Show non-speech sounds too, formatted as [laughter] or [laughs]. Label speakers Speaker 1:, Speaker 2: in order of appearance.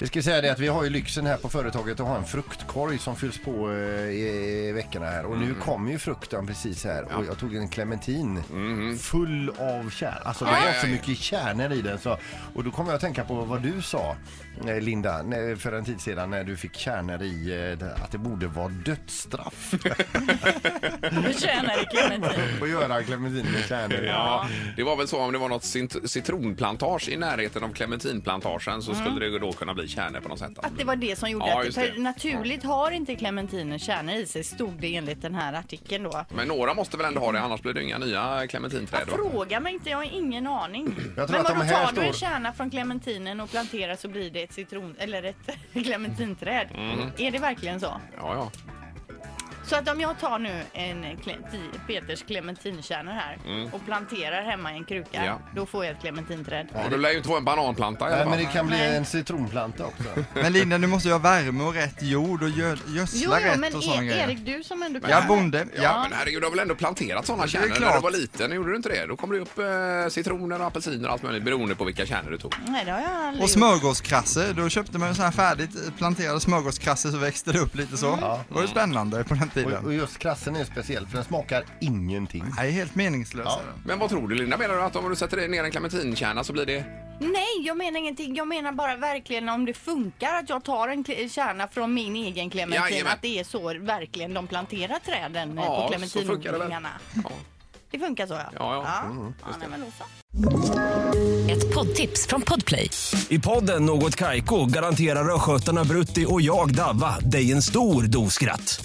Speaker 1: Vi ska säga det att vi har ju lyxen här på företaget att ha en fruktkorg som fylls på eh, i, i veckorna här. Och nu kommer ju frukten precis här. Och jag tog en clementin full av kärn. Alltså det
Speaker 2: Aj,
Speaker 1: var
Speaker 2: aj,
Speaker 1: så
Speaker 2: aj.
Speaker 1: mycket kärnor i den. Så. Och då kommer jag att tänka på vad du sa eh, Linda när- för en tid sedan när du fick kärnor i eh, det- att det borde vara dödsstraff
Speaker 3: Du tjänar i clementin.
Speaker 1: att göra clementin med kärnor.
Speaker 2: Ja, det var väl så om det var något cint- citronplantage i närheten av clementinplantagen så skulle det ju då kunna bli kärnor på något sätt.
Speaker 3: Att det var det som gjorde
Speaker 2: Ja,
Speaker 3: att
Speaker 2: just
Speaker 3: för
Speaker 2: det.
Speaker 3: naturligt har inte clementiner kärnor i sig, stod det enligt den här artikeln då.
Speaker 2: Men några måste väl ändå ha det, annars blir det ju inga nya clementinträd. då.
Speaker 3: Fråga mig inte, jag har ingen aning.
Speaker 1: Jag tror
Speaker 3: Men
Speaker 1: att de
Speaker 3: vadå,
Speaker 1: här
Speaker 3: tar du en
Speaker 1: står-
Speaker 3: kärna från clementinen och planterar så blir det ett citron eller ett [laughs] clementinträd? Är det verkligen så?
Speaker 2: Ja, ja.
Speaker 3: Så att om jag tar nu en cle- ti- Peters clementinkärnor här och planterar hemma i en kruka,
Speaker 2: Ja.
Speaker 3: då får jag ett clementinträd.
Speaker 2: ja det lär ju inte vara en bananplanta i alla
Speaker 1: Nej, men
Speaker 2: fall.
Speaker 1: det kan bli
Speaker 3: Nej.
Speaker 1: en citronplanta också.
Speaker 4: Men Linda, du måste ju ha värme och rätt jord och gö-
Speaker 3: Jo,
Speaker 4: gödsla
Speaker 3: jo, men
Speaker 4: rätt och sådana
Speaker 3: E-
Speaker 4: grejer.
Speaker 3: Erik, du som ändå kan...
Speaker 4: Ja, bonde.
Speaker 2: Ja,
Speaker 4: Ja.
Speaker 2: men herregud, du har väl ändå planterat sådana
Speaker 4: det är
Speaker 2: kärnor när
Speaker 4: klart.
Speaker 2: du var liten? Gjorde du inte det? Då kom det ju upp eh, citroner och apelsiner och allt möjligt beroende på vilka kärnor du tog.
Speaker 3: Nej, det har jag aldrig
Speaker 4: Och
Speaker 3: gjort.
Speaker 4: smörgåskrasser, då köpte man ju sådana här färdigt planterade smörgåskrasser så växte det upp lite så.
Speaker 3: Mm.
Speaker 4: Det var ju spännande på den
Speaker 1: Och, och
Speaker 4: tiden.
Speaker 1: just krassen är speciell för den smakar ingenting.
Speaker 4: Nej, helt meningslös.
Speaker 1: Ja.
Speaker 4: är den.
Speaker 2: Men vad tror du Linda? Menar du att om du sätter ner en clementinkärna så blir det...
Speaker 3: Nej, jag menar ingenting. Jag menar bara verkligen om det funkar att jag tar en kle- kärna från min egen clementin.
Speaker 2: Jajamän.
Speaker 3: Att det är så verkligen de planterar träden eh,
Speaker 2: Ja,
Speaker 3: på
Speaker 2: så
Speaker 3: clementinodlingarna.
Speaker 2: Ja.
Speaker 3: Det funkar så ja.
Speaker 2: ja. Mm,
Speaker 3: ja nej, men då så.
Speaker 5: Ett poddtips från Podplay.
Speaker 6: I podden Något Kaiko garanterar östgötarna Brutti och jag, Davva, dig en stor dos skratt.